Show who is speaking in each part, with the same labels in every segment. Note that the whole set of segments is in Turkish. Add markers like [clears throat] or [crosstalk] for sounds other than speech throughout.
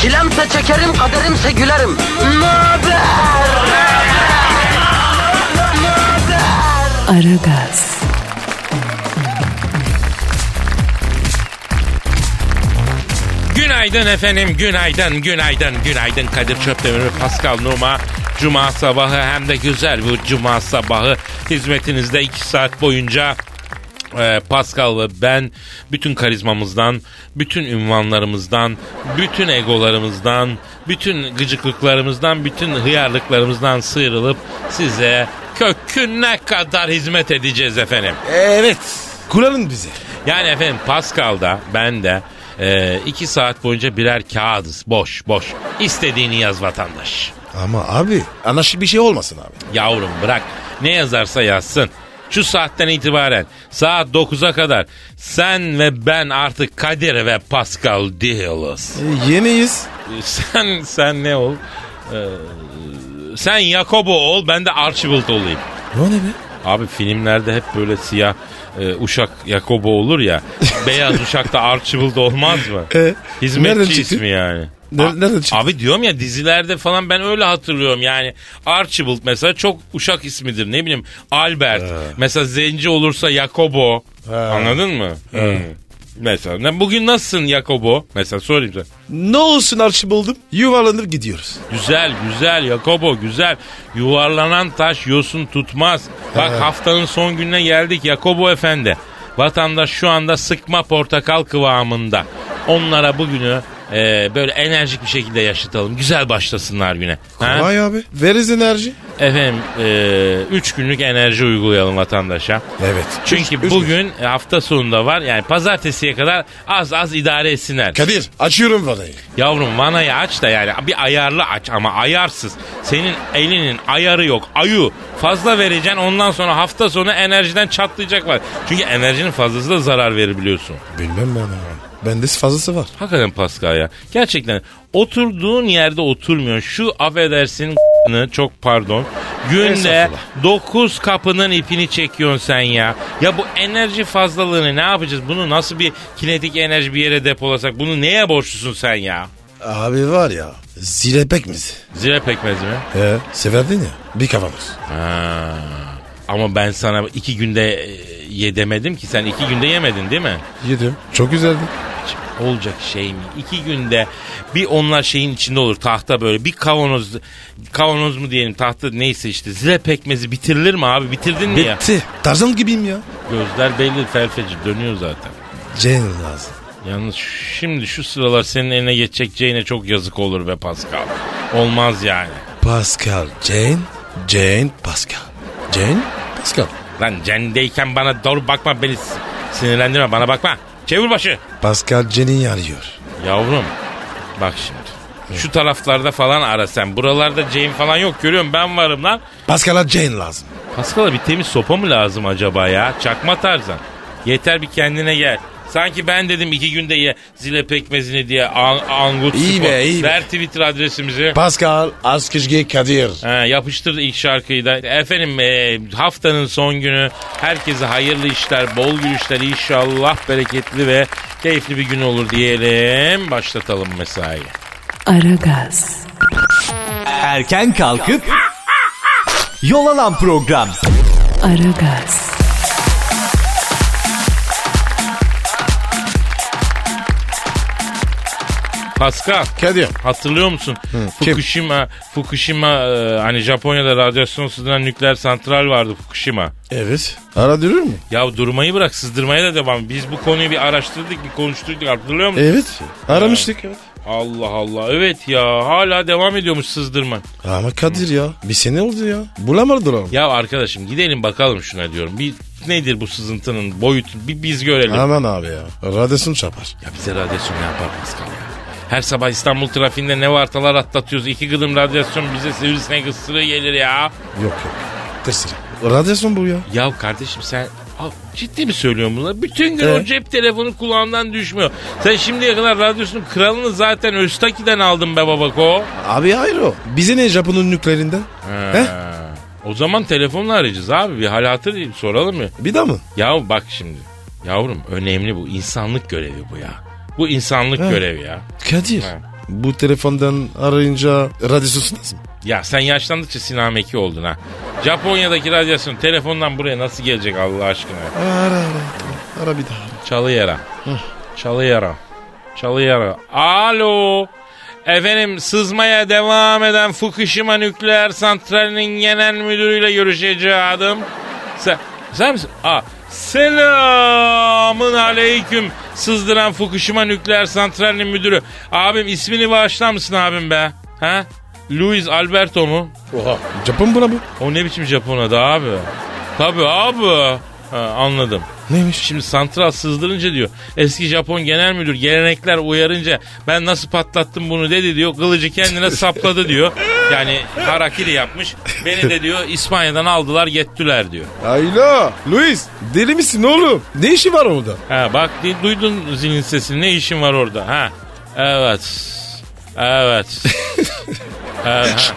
Speaker 1: Çilemse çekerim, kaderimse gülerim. Möber!
Speaker 2: Aragaz,
Speaker 3: Günaydın efendim, günaydın, günaydın, günaydın Kadir Çöptemir ve Pascal Numa. Cuma sabahı hem de güzel bu cuma sabahı hizmetinizde 2 saat boyunca e, Pascal ve ben bütün karizmamızdan, bütün ünvanlarımızdan, bütün egolarımızdan, bütün gıcıklıklarımızdan, bütün hıyarlıklarımızdan sıyrılıp size köküne kadar hizmet edeceğiz efendim.
Speaker 4: Evet. Kuralın bizi.
Speaker 3: Yani efendim Pascal'da ben de e, iki saat boyunca birer kağıdız. Boş boş. İstediğini yaz vatandaş.
Speaker 4: Ama abi anlaşık bir şey olmasın abi.
Speaker 3: Yavrum bırak. Ne yazarsa yazsın. Şu saatten itibaren saat 9'a kadar sen ve ben artık Kadir ve Pascal değiliz.
Speaker 4: e, yeniyiz.
Speaker 3: Sen sen ne ol? Ee, sen Jacobo ol ben de Archibald olayım.
Speaker 4: O ne be?
Speaker 3: Abi filmlerde hep böyle siyah e, uşak Jacobo olur ya.
Speaker 4: [laughs]
Speaker 3: beyaz uşak da Archibald olmaz mı?
Speaker 4: E, nereden
Speaker 3: Hizmetçi
Speaker 4: çıktı?
Speaker 3: ismi yani.
Speaker 4: Ne-
Speaker 3: A-
Speaker 4: nereden çıktı?
Speaker 3: Abi diyorum ya dizilerde falan ben öyle hatırlıyorum yani. Archibald mesela çok uşak ismidir ne bileyim. Albert. Mesela zenci olursa Jacobo. Anladın mı? Hı. Mesela ne- bugün nasılsın Jacobo? Mesela sorayım sana.
Speaker 4: Ne olsun Archibald'ım? Yuvarlanıp gidiyoruz.
Speaker 3: Güzel güzel Jacobo güzel. Yuvarlanan taş yosun tutmaz. Bak haftanın son gününe geldik Jacobo efendi. Vatandaş şu anda sıkma portakal kıvamında. Onlara bugünü e, böyle enerjik bir şekilde yaşatalım. Güzel başlasınlar güne. Ha?
Speaker 4: Vay abi. Veririz enerji.
Speaker 3: Efendim 3 günlük enerji uygulayalım vatandaşa.
Speaker 4: Evet.
Speaker 3: Çünkü
Speaker 4: Üç- üç gün.
Speaker 3: bugün e, hafta sonunda var yani pazartesiye kadar az az idare etsinler.
Speaker 4: Kadir açıyorum vanayı.
Speaker 3: Yavrum vanayı aç da yani bir ayarlı aç ama ayarsız. Senin elinin ayarı yok. Ayu fazla vereceksin ondan sonra hafta sonu enerjiden çatlayacak var. Çünkü enerjinin fazlası da zarar verir biliyorsun.
Speaker 4: Bilmem ben abi. Bende fazlası var.
Speaker 3: Hakikaten Pascal ya. Gerçekten oturduğun yerde oturmuyorsun. Şu affedersin [laughs] çok pardon. Günde
Speaker 4: Estağfurullah.
Speaker 3: 9 kapının ipini çekiyorsun sen ya. Ya bu enerji fazlalığını ne yapacağız? Bunu nasıl bir kinetik enerji bir yere depolasak? Bunu neye borçlusun sen ya?
Speaker 4: Abi var ya. Zile pekmez.
Speaker 3: Zile pekmez mi?
Speaker 4: He. Severdin ya. Bir kafamız.
Speaker 3: Ha. Ama ben sana iki günde e, ye demedim ki sen iki günde yemedin değil mi?
Speaker 4: Yedim. Çok güzeldi.
Speaker 3: Olacak şey mi? İki günde bir onlar şeyin içinde olur tahta böyle bir kavanoz kavanoz mu diyelim tahta neyse işte zile pekmezi bitirilir mi abi bitirdin mi ya?
Speaker 4: Bitti. Tarzan gibiyim ya.
Speaker 3: Gözler belli felfeci dönüyor zaten.
Speaker 4: Ceylan lazım.
Speaker 3: Yalnız şimdi şu sıralar senin eline geçecek Jane'e çok yazık olur be Pascal. Olmaz yani.
Speaker 4: Pascal Jane. Jane Pascal. Jane Pascal.
Speaker 3: Lan Jane'deyken bana doğru bakma beni s- sinirlendirme bana bakma. Çevir başı.
Speaker 4: Pascal Jane'i arıyor.
Speaker 3: Yavrum bak şimdi. Şu taraflarda falan ara sen. Buralarda Jane falan yok görüyorum ben varım lan.
Speaker 4: Pascal'a Jane lazım.
Speaker 3: Paskal'a bir temiz sopa mı lazım acaba ya? Çakma tarzan. Yeter bir kendine gel. Sanki ben dedim iki günde ye zile pekmezini diye an, angut
Speaker 4: İyi
Speaker 3: spor.
Speaker 4: be, iyi be.
Speaker 3: Ver Twitter adresimizi.
Speaker 4: Pascal Askizgi Kadir.
Speaker 3: Ha, yapıştır ilk şarkıyı da. Efendim e, haftanın son günü. Herkese hayırlı işler, bol gülüşler inşallah bereketli ve keyifli bir gün olur diyelim. Başlatalım mesai.
Speaker 2: Aragaz,
Speaker 5: Erken kalkıp yol alan program.
Speaker 2: Aragaz,
Speaker 3: Pascal.
Speaker 4: Kadir.
Speaker 3: Hatırlıyor musun?
Speaker 4: kim?
Speaker 3: Fukushima, Fukushima e, hani Japonya'da radyasyon sızdıran nükleer santral vardı Fukushima.
Speaker 4: Evet. Ara durur mu?
Speaker 3: Ya durmayı bırak sızdırmaya da devam. Biz bu konuyu bir araştırdık, bir konuşturduk hatırlıyor musun?
Speaker 4: Evet. Aramıştık. Evet.
Speaker 3: Allah Allah. Evet ya hala devam ediyormuş sızdırma.
Speaker 4: Ama Kadir ya. Bir sene oldu ya. Bulamadılar mı?
Speaker 3: Ya arkadaşım gidelim bakalım şuna diyorum. Bir nedir bu sızıntının boyutu bir biz görelim.
Speaker 4: Aman abi ya. Radyasyon çapar.
Speaker 3: Ya bize radyasyon ne yapar Pascal ya? Her sabah İstanbul trafiğinde ne vartalar atlatıyoruz. İki gıdım radyasyon bize sivrisinek ısırığı gelir ya.
Speaker 4: Yok yok. Tesir. Radyasyon bu ya.
Speaker 3: Ya kardeşim sen Aa, ciddi mi söylüyorsun bunları? Bütün gün
Speaker 4: Ee?
Speaker 3: o cep telefonu kulağından düşmüyor. Sen şimdiye kadar radyosunun kralını zaten Öztaki'den aldın be babako.
Speaker 4: Abi hayır o. Bize ne Japon'un nükleerinden? He?
Speaker 3: O zaman telefonla arayacağız abi. Bir hal hatır değil, soralım ya.
Speaker 4: Bir daha mı?
Speaker 3: Ya bak şimdi. Yavrum önemli bu. insanlık görevi bu ya. Bu insanlık
Speaker 4: He.
Speaker 3: görevi ya.
Speaker 4: Kadir.
Speaker 3: He.
Speaker 4: Bu telefondan arayınca radyosu nasıl?
Speaker 3: Ya sen yaşlandıkça sinameki oldun ha. Japonya'daki radyasyon telefondan buraya nasıl gelecek Allah aşkına?
Speaker 4: Ara ara ara. Ara bir daha.
Speaker 3: Çalı yara. Çalı yara. Çalı yara. Alo. Efendim sızmaya devam eden Fukushima nükleer santralinin genel müdürüyle görüşeceğim. Sen, sen misin? Aa, selamın aleyküm sızdıran Fukushima nükleer santralinin müdürü. Abim ismini bağışlar mısın abim be? Ha? Luis Alberto mu?
Speaker 4: Japon buna bu.
Speaker 3: O ne biçim Japon adı abi? Tabii abi. Ha, anladım.
Speaker 4: Neymiş?
Speaker 3: Şimdi santral sızdırınca diyor. Eski Japon genel müdür gelenekler uyarınca ben nasıl patlattım bunu dedi diyor. Kılıcı kendine sapladı diyor. Yani harakiri yapmış. Beni de diyor İspanya'dan aldılar gettiler diyor.
Speaker 4: Ayla. Luis. Deli misin oğlum? Ne işi var orada?
Speaker 3: Ha bak di- duydun zilin sesini ne işin var orada ha. Evet. Evet. evet.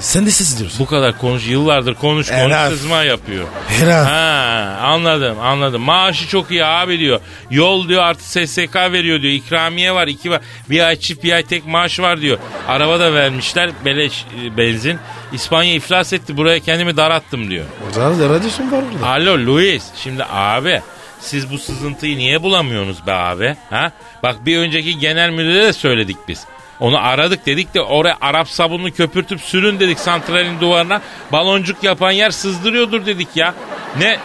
Speaker 4: Sen de ses diyorsun.
Speaker 3: Bu kadar konuş yıllardır konuş konuş
Speaker 4: Helal.
Speaker 3: sızma yapıyor.
Speaker 4: Hera.
Speaker 3: Ha anladım anladım. Maaşı çok iyi abi diyor. Yol diyor artı SSK veriyor diyor. İkramiye var iki var. Bir ay çift bir ay tek maaş var diyor. Araba da vermişler beleş e, benzin. İspanya iflas etti buraya kendimi darattım diyor.
Speaker 4: Orada da radyosun var orada.
Speaker 3: Alo Luis şimdi abi siz bu sızıntıyı niye bulamıyorsunuz be abi? Ha? Bak bir önceki genel müdüre de söyledik biz. Onu aradık dedik de oraya Arap sabununu köpürtüp sürün dedik santralin duvarına. Baloncuk yapan yer sızdırıyordur dedik ya. Ne?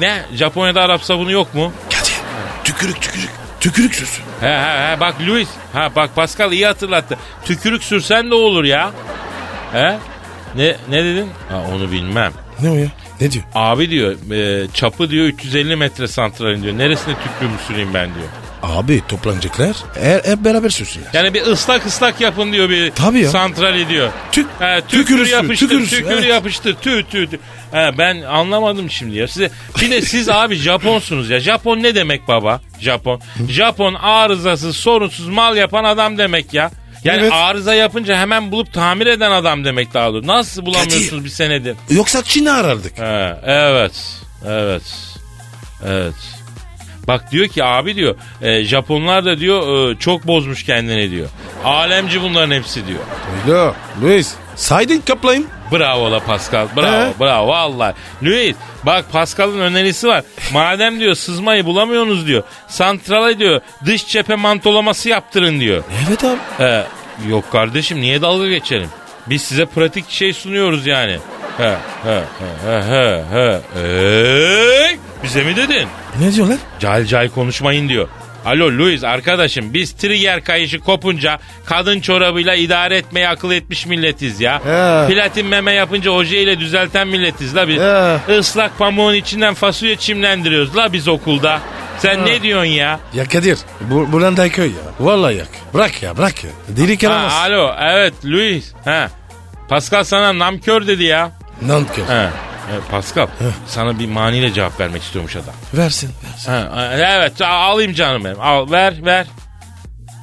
Speaker 3: Ne? Japonya'da Arap sabunu yok mu?
Speaker 4: Kadir. Tükürük tükürük. Tükürük sürüsü.
Speaker 3: He he he bak Luis. Ha bak Pascal iyi hatırlattı. Tükürük sürsen de olur ya. He? Ne, ne dedin? Ha, onu bilmem.
Speaker 4: Ne o ya? Ne diyor?
Speaker 3: Abi diyor e, çapı diyor 350 metre santralin diyor. Neresine tüplüğümü süreyim ben diyor.
Speaker 4: Abi toplanacaklar. Eğer hep beraber sürsünler.
Speaker 3: Yani bir ıslak ıslak yapın diyor bir
Speaker 4: Tabii ya.
Speaker 3: santrali diyor.
Speaker 4: Tük-
Speaker 3: He, tükür
Speaker 4: tükürürsün,
Speaker 3: yapıştır,
Speaker 4: tükürürsün,
Speaker 3: tükür
Speaker 4: evet.
Speaker 3: yapıştır, tü tü tü. He, ben anlamadım şimdi ya. Size bir de siz abi Japonsunuz ya. Japon ne demek baba? Japon. Japon arızasız, sorunsuz mal yapan adam demek ya. Yani
Speaker 4: Evet.
Speaker 3: arıza yapınca hemen bulup tamir eden adam demek daha doğrusu. Nasıl bulamıyorsunuz
Speaker 4: Kadir.
Speaker 3: bir senedir?
Speaker 4: Yoksa Çin'i arardık.
Speaker 3: Ha, evet. Evet. Evet. Bak diyor ki abi diyor e, Japonlar da diyor e, çok bozmuş kendini diyor. Alemci bunların hepsi diyor.
Speaker 4: Alo Luis. Saydın kaplayın.
Speaker 3: Bravo la Pascal. Bravo
Speaker 4: He.
Speaker 3: bravo vallahi. Luis bak Pascal'ın önerisi var. Madem diyor sızmayı bulamıyorsunuz diyor. Santrala diyor dış cephe mantolaması yaptırın diyor.
Speaker 4: Evet abi.
Speaker 3: He, yok kardeşim niye dalga geçelim? Biz size pratik şey sunuyoruz yani. He, he, he, he, he, he. Eee, bize mi dedin?
Speaker 4: Ne diyorlar?
Speaker 3: Cal cal konuşmayın diyor. Alo Luis arkadaşım biz trigger kayışı kopunca kadın çorabıyla idare etmeye akıl etmiş milletiz ya.
Speaker 4: He.
Speaker 3: Platin meme yapınca oje ile düzelten milletiz la biz.
Speaker 4: He.
Speaker 3: Islak pamuğun içinden fasulye çimlendiriyoruz la biz okulda. Sen ne diyorsun ya?
Speaker 4: Ya Kadir. Bu, Bulanday köy ya. Vallahi yak. Bırak ya bırak ya. Deli kelamaz.
Speaker 3: Ha, alo evet Luis. Ha. Pascal sana namkör dedi ya.
Speaker 4: Nankör.
Speaker 3: He. E, Pascal sana bir maniyle cevap vermek istiyormuş adam.
Speaker 4: Versin. versin.
Speaker 3: Ha, e, evet a- alayım canım benim. Al ver ver.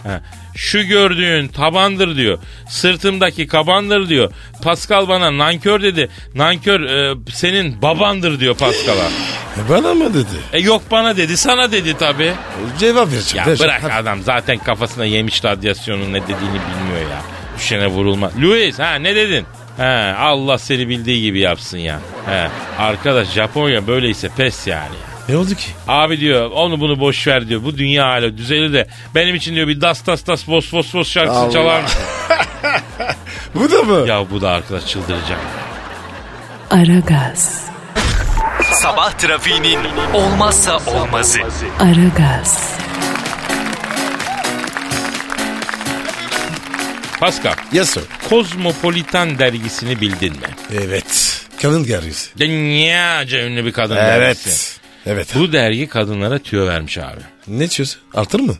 Speaker 3: Ha. Şu gördüğün tabandır diyor. Sırtımdaki kabandır diyor. Pascal bana nankör dedi. Nankör e, senin babandır diyor Pascal'a.
Speaker 4: E bana mı dedi?
Speaker 3: e yok bana dedi sana dedi tabii.
Speaker 4: Cevap verecek.
Speaker 3: Ya
Speaker 4: verecek.
Speaker 3: bırak
Speaker 4: Hadi.
Speaker 3: adam zaten kafasına yemiş radyasyonun ne dediğini bilmiyor ya. Düşene vurulma. Luis ha ne dedin? He, Allah seni bildiği gibi yapsın ya. He, arkadaş Japonya böyleyse pes yani.
Speaker 4: Ne oldu ki?
Speaker 3: Abi diyor onu bunu boş ver diyor. Bu dünya hala düzelir de benim için diyor bir das das das vos vos vos şarkısı
Speaker 4: Allah.
Speaker 3: çalar mısın?
Speaker 4: Bu da mı?
Speaker 3: ya bu da arkadaş çıldıracak.
Speaker 2: Aragaz,
Speaker 5: Sabah trafiğinin olmazsa olmazı.
Speaker 2: Aragaz,
Speaker 3: Pascal,
Speaker 4: Yes sir.
Speaker 3: Kozmopolitan dergisini bildin mi?
Speaker 4: Evet. Kadın gergisi.
Speaker 3: Dünyaca ünlü bir kadın
Speaker 4: Evet.
Speaker 3: dergisi.
Speaker 4: Evet.
Speaker 3: Bu dergi kadınlara tüyo vermiş abi.
Speaker 4: Ne diyorsun? Artır mı?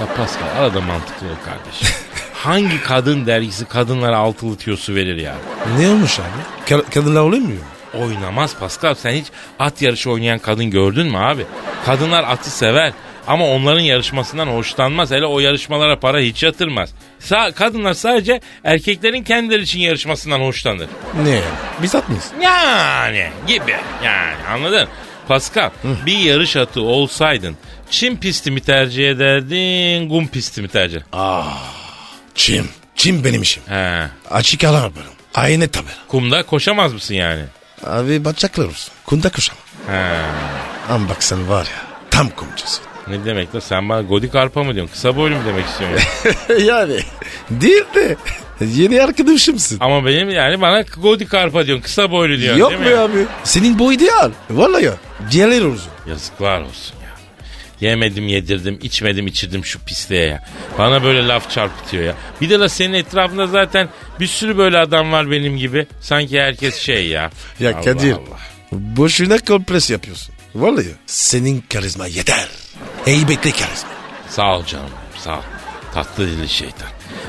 Speaker 3: Ya Pascal arada mantıklı ol kardeşim. Hangi kadın dergisi kadınlara altılı tüyosu verir ya?
Speaker 4: Ne olmuş abi? Ka- kadınlar olayım mı?
Speaker 3: Oynamaz Pascal. Sen hiç at yarışı oynayan kadın gördün mü abi? Kadınlar atı sever ama onların yarışmasından hoşlanmaz. Hele o yarışmalara para hiç yatırmaz. Sa- kadınlar sadece erkeklerin kendileri için yarışmasından hoşlanır.
Speaker 4: Ne yani? Biz atmayız.
Speaker 3: Yani gibi yani anladın? Pascal bir yarış atı olsaydın Çin pisti mi tercih ederdin, kum pisti mi tercih?
Speaker 4: Çim. Çim benim işim.
Speaker 3: He.
Speaker 4: Açık alan yaparım. Aynı tabela.
Speaker 3: Kumda koşamaz mısın yani?
Speaker 4: Abi batacaklar olsun. Kunda koşamam.
Speaker 3: He.
Speaker 4: Ama bak sen var ya tam kumcasın.
Speaker 3: Ne demek la sen bana godik arpa mı diyorsun? Kısa boylu mu demek istiyorsun?
Speaker 4: [laughs]
Speaker 3: yani?
Speaker 4: [laughs] yani değil de yeni arkadaşımsın.
Speaker 3: Ama benim yani bana godik arpa diyorsun. Kısa boylu diyorsun
Speaker 4: Yok
Speaker 3: değil
Speaker 4: mu
Speaker 3: mi? ya?
Speaker 4: abi? Senin boy ideal. Vallahi ya. Diğerleri olsun.
Speaker 3: Yazıklar olsun ya. Yemedim yedirdim içmedim içirdim şu pisliğe ya. Bana böyle laf çarpıtıyor ya. Bir de la senin etrafında zaten bir sürü böyle adam var benim gibi. Sanki herkes şey ya.
Speaker 4: [laughs] Ya
Speaker 3: Allah
Speaker 4: Kadir.
Speaker 3: Allah.
Speaker 4: Boşuna kompres yapıyorsun. Vallahi ya. Senin karizma yeter. Heybetli karizma.
Speaker 3: Sağ ol canım sağ ol. Tatlı dili şeytan.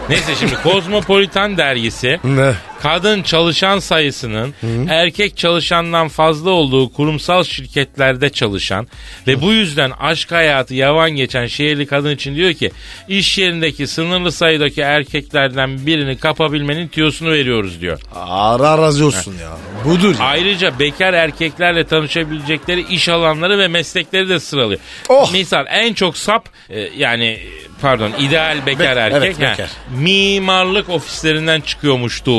Speaker 3: Neyse şimdi Kozmopolitan dergisi
Speaker 4: Ne?
Speaker 3: kadın çalışan sayısının erkek çalışandan fazla olduğu kurumsal şirketlerde çalışan ve bu yüzden aşk hayatı yavan geçen şehirli kadın için diyor ki iş yerindeki sınırlı sayıdaki erkeklerden birini kapabilmenin tüyosunu veriyoruz diyor.
Speaker 4: Ara razı olsun ya. Budur. ya.
Speaker 3: Ayrıca bekar erkeklerle tanışabilecekleri iş alanları ve meslekleri de sıralıyor.
Speaker 4: Oh!
Speaker 3: Misal en çok sap e, yani e, pardon ideal bekar
Speaker 4: Be-
Speaker 3: erkek
Speaker 4: evet,
Speaker 3: ha,
Speaker 4: bekar.
Speaker 3: mimarlık ofislerinden çıkıyormuştu.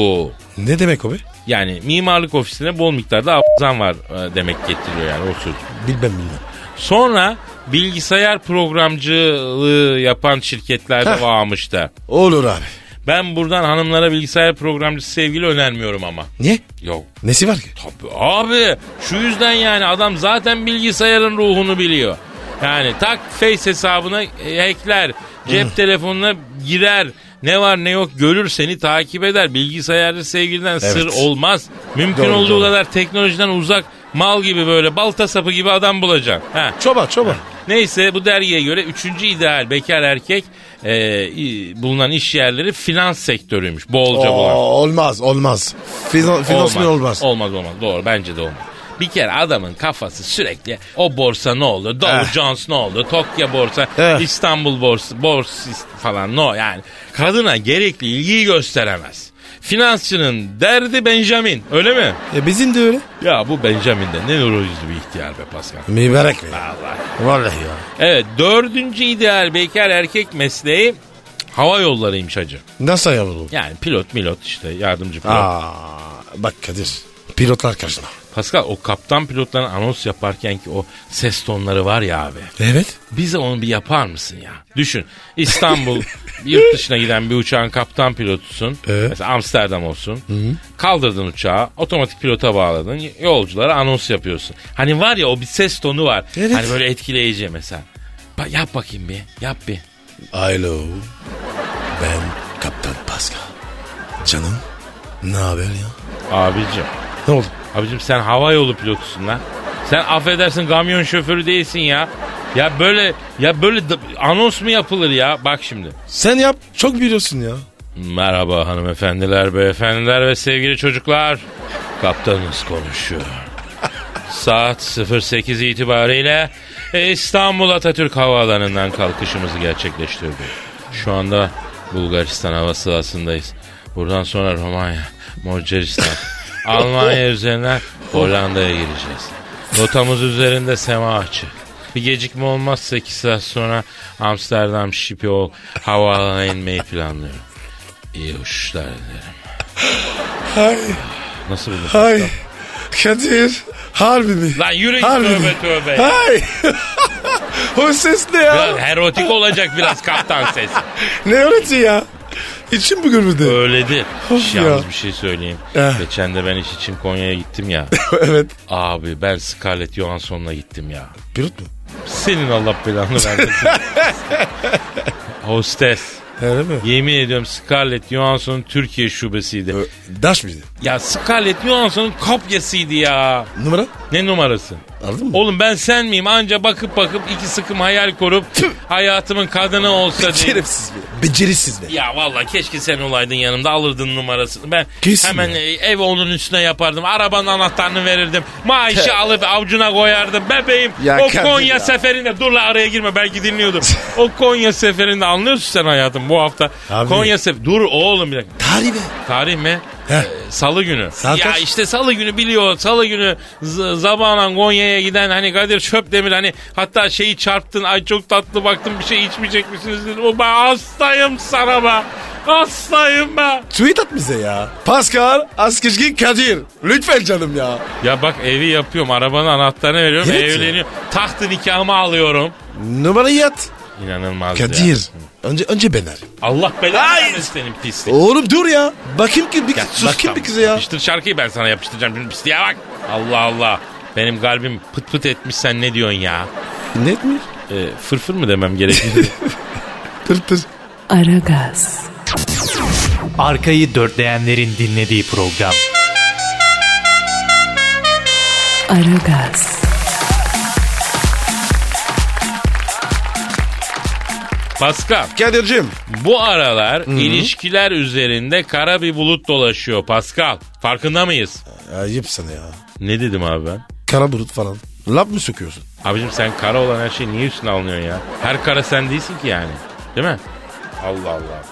Speaker 4: Ne demek o be?
Speaker 3: Yani mimarlık ofisine bol miktarda abzan var e, demek getiriyor yani o söz.
Speaker 4: Bilmem bilmem.
Speaker 3: Sonra bilgisayar programcılığı yapan şirketlerde
Speaker 4: Heh.
Speaker 3: varmış da.
Speaker 4: Olur abi.
Speaker 3: Ben buradan hanımlara bilgisayar programcısı sevgili önermiyorum ama.
Speaker 4: Niye?
Speaker 3: Yok
Speaker 4: Nesi var ki?
Speaker 3: Tabii abi şu yüzden yani adam zaten bilgisayarın ruhunu biliyor. Yani tak face hesabına e, hackler, cep telefonuna girer, ne var ne yok görür seni takip eder. Bilgisayarda sevgiliden sır olmaz. Mümkün
Speaker 4: Doğru,
Speaker 3: olduğu
Speaker 4: doğru.
Speaker 3: kadar teknolojiden uzak mal gibi böyle balta sapı gibi adam bulacaksın. Ha.
Speaker 4: Çoban çoban.
Speaker 3: Neyse bu dergiye göre üçüncü ideal bekar erkek e, i- bulunan iş yerleri finans sektörüymüş. Bolca bulan.
Speaker 4: Oo, olmaz olmaz. Finan, finansman olmaz.
Speaker 3: Olmaz olmaz. Doğru bence de olmaz. Bir kere adamın kafası sürekli o borsa ne oldu? Dow
Speaker 4: Eh.
Speaker 3: Jones ne oldu? Tokyo borsa,
Speaker 4: Eh.
Speaker 3: İstanbul borsa, borsa falan no yani. Kadına gerekli ilgiyi gösteremez. Finansçının derdi Benjamin öyle mi?
Speaker 4: E bizim de öyle.
Speaker 3: Ya bu Benjamin'de ne nuru yüzlü bir ihtiyar be Pascal.
Speaker 4: Mübarek mi?
Speaker 3: Allah.
Speaker 4: Vallahi ya.
Speaker 3: Evet dördüncü ideal bekar erkek mesleği hava yollarıymış hacı.
Speaker 4: Nasıl yavrum?
Speaker 3: Yani pilot milot işte yardımcı pilot.
Speaker 4: Aa, bak Kadir. Pilotlar karşına.
Speaker 3: Pascal o kaptan pilotların anons yaparken ki o ses tonları var ya abi.
Speaker 4: Evet.
Speaker 3: Bize onu bir yapar mısın ya? Düşün İstanbul yurt dışına giden bir uçağın kaptan pilotusun.
Speaker 4: Ee?
Speaker 3: Mesela Amsterdam olsun. Kaldırdın uçağı otomatik pilota bağladın. Yolculara anons yapıyorsun. Hani var ya o bir ses tonu var.
Speaker 4: Evet.
Speaker 3: Hani böyle etkileyici mesela. Ba- yap bakayım bir yap bir.
Speaker 4: Alo. Ben Kaptan Pascal. Canım. Ne haber ya?
Speaker 3: Abicim.
Speaker 4: Ne oldu?
Speaker 3: Abicim sen hava yolu pilotusun lan. Sen affedersin kamyon şoförü değilsin ya. Ya böyle ya böyle d- anons mu yapılır ya? Bak şimdi.
Speaker 4: Sen yap. Çok biliyorsun ya.
Speaker 3: Merhaba hanımefendiler, beyefendiler ve sevgili çocuklar. Kaptanınız konuşuyor. Saat 08 itibariyle e, İstanbul Atatürk Havaalanı'ndan kalkışımızı gerçekleştirdik. Şu anda Bulgaristan hava sahasındayız. Buradan sonra Romanya, Macaristan, Almanya üzerinden Hollanda'ya gireceğiz. Rotamız üzerinde sema açık. Bir gecikme olmaz 8 saat sonra Amsterdam Schiphol havaalanına inmeyi planlıyorum. İyi uçuşlar dilerim.
Speaker 4: Hay
Speaker 3: Nasıl buldun?
Speaker 4: hay. Kadir. Harbi mi?
Speaker 3: Lan yürü git
Speaker 4: Harbi
Speaker 3: tövbe
Speaker 4: mi?
Speaker 3: tövbe. ya.
Speaker 4: Hay. [laughs] o ses ne ya?
Speaker 3: Biraz erotik olacak biraz kaptan sesi.
Speaker 4: Ne öğreti ya? İçim mi gürüldü?
Speaker 3: Öyledir.
Speaker 4: Of
Speaker 3: Yalnız
Speaker 4: ya.
Speaker 3: bir şey söyleyeyim.
Speaker 4: Eh.
Speaker 3: Geçen de ben iş için Konya'ya gittim
Speaker 4: [laughs]
Speaker 3: ya.
Speaker 4: [laughs] evet.
Speaker 3: Abi ben Scarlett Johansson'la gittim ya.
Speaker 4: Pilot mu?
Speaker 3: Senin Allah belanı
Speaker 4: [laughs]
Speaker 3: vermesin. Hostes.
Speaker 4: Öyle mi?
Speaker 3: Yemin ediyorum Scarlett Johansson'un Türkiye şubesiydi.
Speaker 4: Daş mıydı?
Speaker 3: Ya Scarlett Johansson'un kopyasıydı ya.
Speaker 4: Numara?
Speaker 3: Ne numarası?
Speaker 4: Anladın mı?
Speaker 3: Oğlum ben sen miyim? Anca bakıp bakıp iki sıkım hayal kurup
Speaker 4: Tüh.
Speaker 3: hayatımın kadını olsa diye.
Speaker 4: Şerefsiz be. Becerisiz be.
Speaker 3: Ya valla keşke sen olaydın yanımda alırdın numarasını. Ben
Speaker 4: Kesin
Speaker 3: hemen
Speaker 4: ya.
Speaker 3: e, ev onun üstüne yapardım. Arabanın anahtarını verirdim. Maaşı alıp avcuna koyardım. Bebeğim
Speaker 4: Ya
Speaker 3: o
Speaker 4: Kadir
Speaker 3: Konya
Speaker 4: ya.
Speaker 3: seferinde dur la araya girme belki dinliyordum. o Konya seferinde anlıyorsun sen hayatım bu hafta.
Speaker 4: Abi.
Speaker 3: Konya sefer dur oğlum bir dakika.
Speaker 4: Tarih be.
Speaker 3: Tarih mi?
Speaker 4: Heh.
Speaker 3: Ee, Salı günü.
Speaker 4: Saat
Speaker 3: ya
Speaker 4: kaç?
Speaker 3: işte salı günü biliyor. Salı günü z- Zabanan Konya'ya giden hani Kadir Çöpdemir hani hatta şeyi çarptın. Ay çok tatlı baktım bir şey içmeyecek misiniz dedim. O ben hastayım sana be. Hastayım be.
Speaker 4: Tweet at bize ya. Pascal Askışki Kadir. Lütfen canım ya.
Speaker 3: Ya bak evi yapıyorum. Arabanın anahtarını veriyorum.
Speaker 4: Evet ya.
Speaker 3: evleniyorum. Tahtı nikahımı alıyorum.
Speaker 4: Numarayı at.
Speaker 3: İnanılmaz ya.
Speaker 4: Kadir. Önce önce ben arayayım.
Speaker 3: Allah belanı versin senin pislik.
Speaker 4: Oğlum dur ya. Bakayım ki bir
Speaker 3: Ya
Speaker 4: kız.
Speaker 3: bak
Speaker 4: Sus kim
Speaker 3: tamam,
Speaker 4: bir kıza ya.
Speaker 3: Yapıştır şarkıyı ben sana yapıştıracağım. Şimdi pisliğe bak. Allah Allah. Benim kalbim pıt pıt etmiş sen ne diyorsun ya?
Speaker 4: Net mi?
Speaker 3: E, fırfır mı demem [laughs] gerekiyor?
Speaker 4: Tır tır.
Speaker 2: Aragaz,
Speaker 5: Arkayı dörtleyenlerin dinlediği program.
Speaker 2: Aragaz,
Speaker 3: Pascal,
Speaker 4: Kadir'cim.
Speaker 3: bu aralar ilişkiler üzerinde kara bir bulut dolaşıyor Pascal. Farkında mıyız?
Speaker 4: Ayıp sana ya.
Speaker 3: Ne dedim abi ben?
Speaker 4: Kara bulut falan. Laf mı söküyorsun?
Speaker 3: Abicim sen kara olan her şeyi niye üstüne alınıyorsun ya? Her kara sen değilsin ki yani. Değil mi? Allah Allah.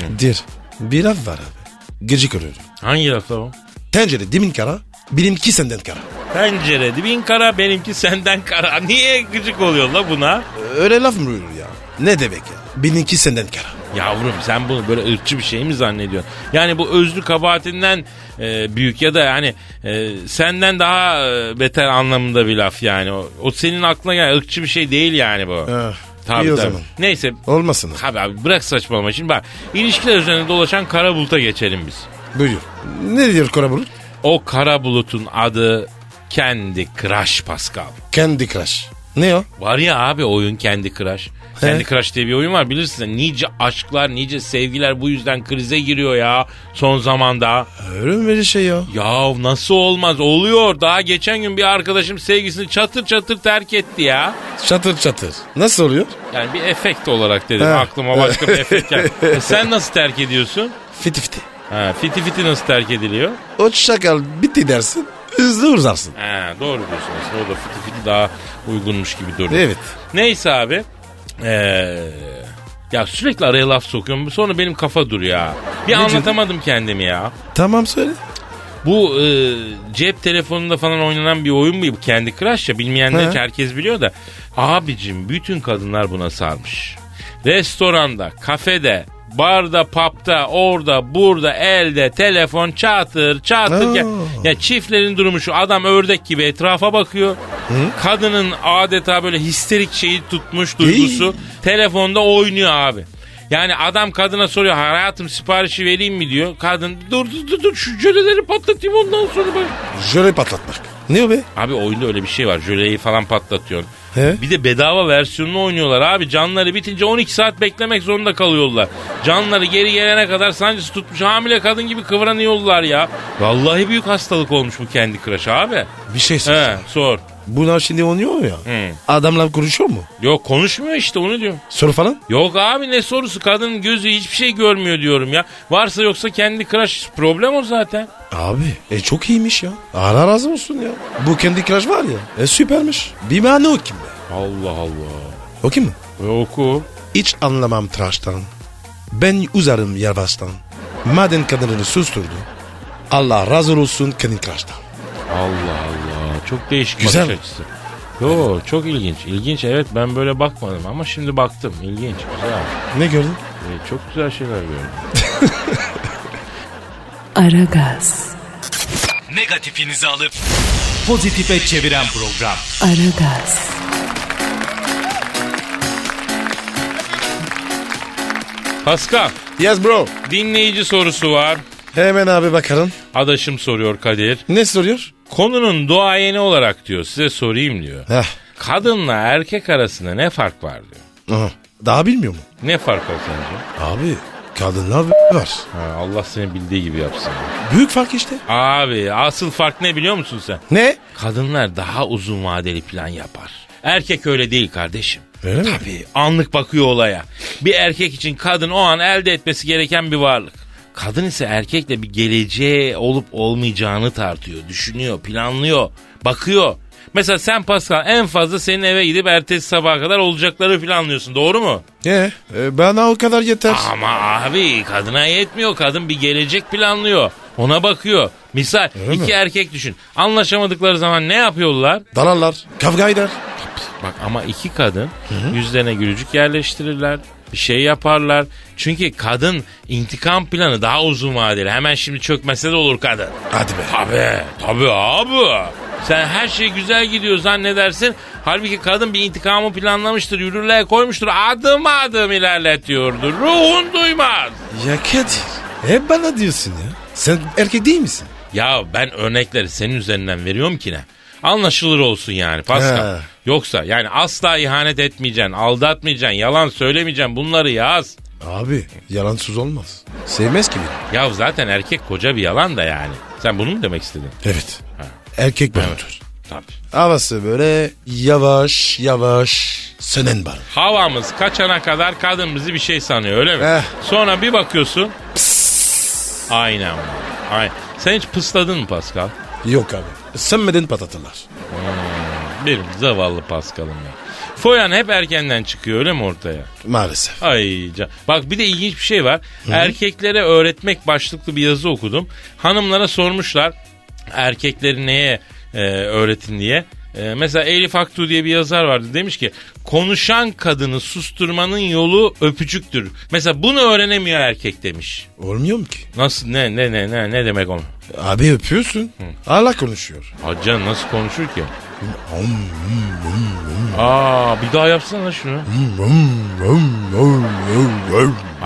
Speaker 4: Kadir. Bir laf var abi. Gıcık oluyorum.
Speaker 3: Hangi lafta o?
Speaker 4: Tencere dimin kara. Benimki senden kara.
Speaker 3: Pencere dibin kara benimki senden kara. Niye gıcık oluyor la buna?
Speaker 4: Öyle laf mı olur ya? Ne demek ya? Benimki senden kara.
Speaker 3: Yavrum sen bunu böyle ırkçı bir şey mi zannediyorsun? Yani bu özlü kabahatinden e, büyük ya da yani e, senden daha e, beter anlamında bir laf yani. O, o senin aklına gelen ırkçı bir şey değil yani bu.
Speaker 4: Eh,
Speaker 3: Tabii,
Speaker 4: iyi
Speaker 3: tabii.
Speaker 4: o zaman.
Speaker 3: Neyse.
Speaker 4: Olmasın.
Speaker 3: Abi, abi bırak saçmalama şimdi bak. ilişkiler üzerine dolaşan kara buluta geçelim biz.
Speaker 4: Buyur. Ne diyor kara bulut?
Speaker 3: O kara bulutun adı kendi Crush Pascal.
Speaker 4: Candy Crush. Ne o?
Speaker 3: Var ya abi oyun kendi Crush. Kendi Crush diye bir oyun var bilirsin. Nice aşklar, nice sevgiler bu yüzden krize giriyor ya son zamanda.
Speaker 4: Öyle mi böyle şey ya?
Speaker 3: Ya nasıl olmaz oluyor. Daha geçen gün bir arkadaşım sevgisini çatır çatır terk etti ya.
Speaker 4: Çatır çatır. Nasıl oluyor?
Speaker 3: Yani bir efekt olarak dedim.
Speaker 4: Ha.
Speaker 3: Aklıma başka bir efekt geldi. E sen nasıl terk ediyorsun?
Speaker 4: Fiti fiti.
Speaker 3: Ha, fiti fiti nasıl terk ediliyor?
Speaker 4: O şakal bitti dersin. Hızlı uzarsın.
Speaker 3: Ha, doğru diyorsun aslında. O da fiti fiti daha uygunmuş gibi duruyor.
Speaker 4: Evet.
Speaker 3: Neyse abi. Ee, ya sürekli araya laf sokuyorum. Sonra benim kafa dur ya. Bir anlatamadım kendimi ya.
Speaker 4: Tamam söyle.
Speaker 3: Bu e, cep telefonunda falan oynanan bir oyun bu. Kendi Crush ya bilmeyenler
Speaker 4: He.
Speaker 3: herkes biliyor da. Abicim bütün kadınlar buna sarmış. Restoranda, kafede, barda, papta, orada, burada, elde, telefon çatır çatır.
Speaker 4: Aa.
Speaker 3: Ya, ya çiftlerin durumu şu adam ördek gibi etrafa bakıyor. Kadının adeta böyle histerik şeyi tutmuş duygusu. Telefonda oynuyor abi. Yani adam kadına soruyor hayatım siparişi vereyim mi diyor. Kadın dur dur dur, dur şu jöleleri patlatayım ondan sonra bak.
Speaker 4: Jöle patlatmak. Ne o be?
Speaker 3: Abi oyunda öyle bir şey var. Jöleyi falan patlatıyorsun.
Speaker 4: He?
Speaker 3: Bir de bedava versiyonunu oynuyorlar abi. Canları bitince 12 saat beklemek zorunda kalıyorlar. Canları geri gelene kadar sancısı tutmuş hamile kadın gibi kıvranıyorlar ya. Vallahi büyük hastalık olmuş bu kendi Crush abi.
Speaker 4: Bir şey
Speaker 3: He
Speaker 4: söyle.
Speaker 3: sor.
Speaker 4: Bunlar şimdi oynuyor mu ya?
Speaker 3: Hı.
Speaker 4: Adamlar konuşuyor mu?
Speaker 3: Yok konuşmuyor işte onu diyorum.
Speaker 4: Soru falan?
Speaker 3: Yok abi ne sorusu kadının gözü hiçbir şey görmüyor diyorum ya. Varsa yoksa kendi crush problem o zaten.
Speaker 4: Abi e çok iyiymiş ya. Allah razı olsun ya. Bu kendi Crush var ya. E süpermiş. Bir mane o kim be?
Speaker 3: Allah Allah.
Speaker 4: O kim mi?
Speaker 3: E, oku.
Speaker 4: Hiç anlamam tıraştan. Ben uzarım yavaştan. Maden kadınını susturdu. Allah razı olsun kadın tıraştan.
Speaker 3: Allah Allah. Çok değişik
Speaker 4: Güzel mi?
Speaker 3: bakış açısı. Yo çok ilginç. İlginç evet ben böyle bakmadım ama şimdi baktım. İlginç güzel.
Speaker 4: Ne gördün?
Speaker 3: E, çok güzel şeyler gördüm.
Speaker 2: Aragaz,
Speaker 5: Negatifinizi alıp pozitife çeviren program.
Speaker 2: Aragaz,
Speaker 3: Pascal
Speaker 4: Yes bro.
Speaker 3: dinleyici sorusu var.
Speaker 4: Hemen abi bakalım.
Speaker 3: Adaşım soruyor Kadir.
Speaker 4: Ne soruyor?
Speaker 3: Konunun duayeni olarak diyor size sorayım diyor.
Speaker 4: Heh.
Speaker 3: Kadınla erkek arasında ne fark var diyor.
Speaker 4: Aha. Daha bilmiyor mu?
Speaker 3: Ne fark var sence?
Speaker 4: Abi Kadınlar [laughs] var.
Speaker 3: Ha, Allah seni bildiği gibi yapsın.
Speaker 4: Büyük fark işte.
Speaker 3: Abi asıl fark ne biliyor musun sen?
Speaker 4: Ne?
Speaker 3: Kadınlar daha uzun vadeli plan yapar. Erkek öyle değil kardeşim.
Speaker 4: Öyle mi?
Speaker 3: Tabii anlık bakıyor olaya. Bir erkek için kadın o an elde etmesi gereken bir varlık. Kadın ise erkekle bir geleceğe olup olmayacağını tartıyor, düşünüyor, planlıyor, bakıyor. Mesela sen Pascal en fazla senin eve gidip ertesi sabaha kadar olacakları planlıyorsun doğru mu?
Speaker 4: Ne? E, bana o kadar yeter. [laughs]
Speaker 3: Ama abi kadına yetmiyor. Kadın bir gelecek planlıyor. Ona bakıyor. Misal
Speaker 4: Öyle
Speaker 3: iki
Speaker 4: mi?
Speaker 3: erkek düşün. Anlaşamadıkları zaman ne yapıyorlar?
Speaker 4: Dalarlar. Kavga eder.
Speaker 3: Bak ama iki kadın yüzlerine gülücük yerleştirirler. Bir şey yaparlar. Çünkü kadın intikam planı daha uzun vadeli. Hemen şimdi çökmese de olur kadın.
Speaker 4: Hadi be.
Speaker 3: Tabii. Tabii abi. Sen her şey güzel gidiyor zannedersin. Halbuki kadın bir intikamı planlamıştır, yürürlüğe koymuştur. Adım adım ilerletiyordur. Ruhun duymaz.
Speaker 4: Ya Kadir. Hep bana diyorsun ya. Sen erkek değil misin?
Speaker 3: Ya ben örnekleri senin üzerinden veriyorum ki ne? Anlaşılır olsun yani Pascal.
Speaker 4: He.
Speaker 3: Yoksa yani asla ihanet etmeyeceksin, aldatmayacaksın, yalan söylemeyeceksin bunları yaz.
Speaker 4: Abi yalansız olmaz. Sevmez ki beni.
Speaker 3: Ya zaten erkek koca bir yalan da yani. Sen bunu mu demek istedin?
Speaker 4: Evet. Erkek barudur.
Speaker 3: Tabii.
Speaker 4: Havası böyle yavaş yavaş sönen barut.
Speaker 3: Havamız kaçana kadar kadın bizi bir şey sanıyor öyle mi?
Speaker 4: Eh.
Speaker 3: Sonra bir bakıyorsun. Aynen. Aynen. Sen hiç pısladın mı Pascal?
Speaker 4: Yok abi. Sönmeden patatalar.
Speaker 3: Benim zavallı Pascal'ım ya. Foyan hep erkenden çıkıyor öyle mi ortaya?
Speaker 4: Maalesef.
Speaker 3: Ay can. Bak bir de ilginç bir şey var. Erkeklere öğretmek başlıklı bir yazı okudum. Hanımlara sormuşlar erkekleri neye e, öğretin diye. E, mesela Elif Aktu diye bir yazar vardı. Demiş ki konuşan kadını susturmanın yolu öpücüktür. Mesela bunu öğrenemiyor erkek demiş.
Speaker 4: Olmuyor mu ki?
Speaker 3: Nasıl ne ne ne ne ne demek onu?
Speaker 4: Abi öpüyorsun. Allah konuşuyor.
Speaker 3: Hacı nasıl konuşur ki? Aa bir daha yapsana şunu.
Speaker 4: E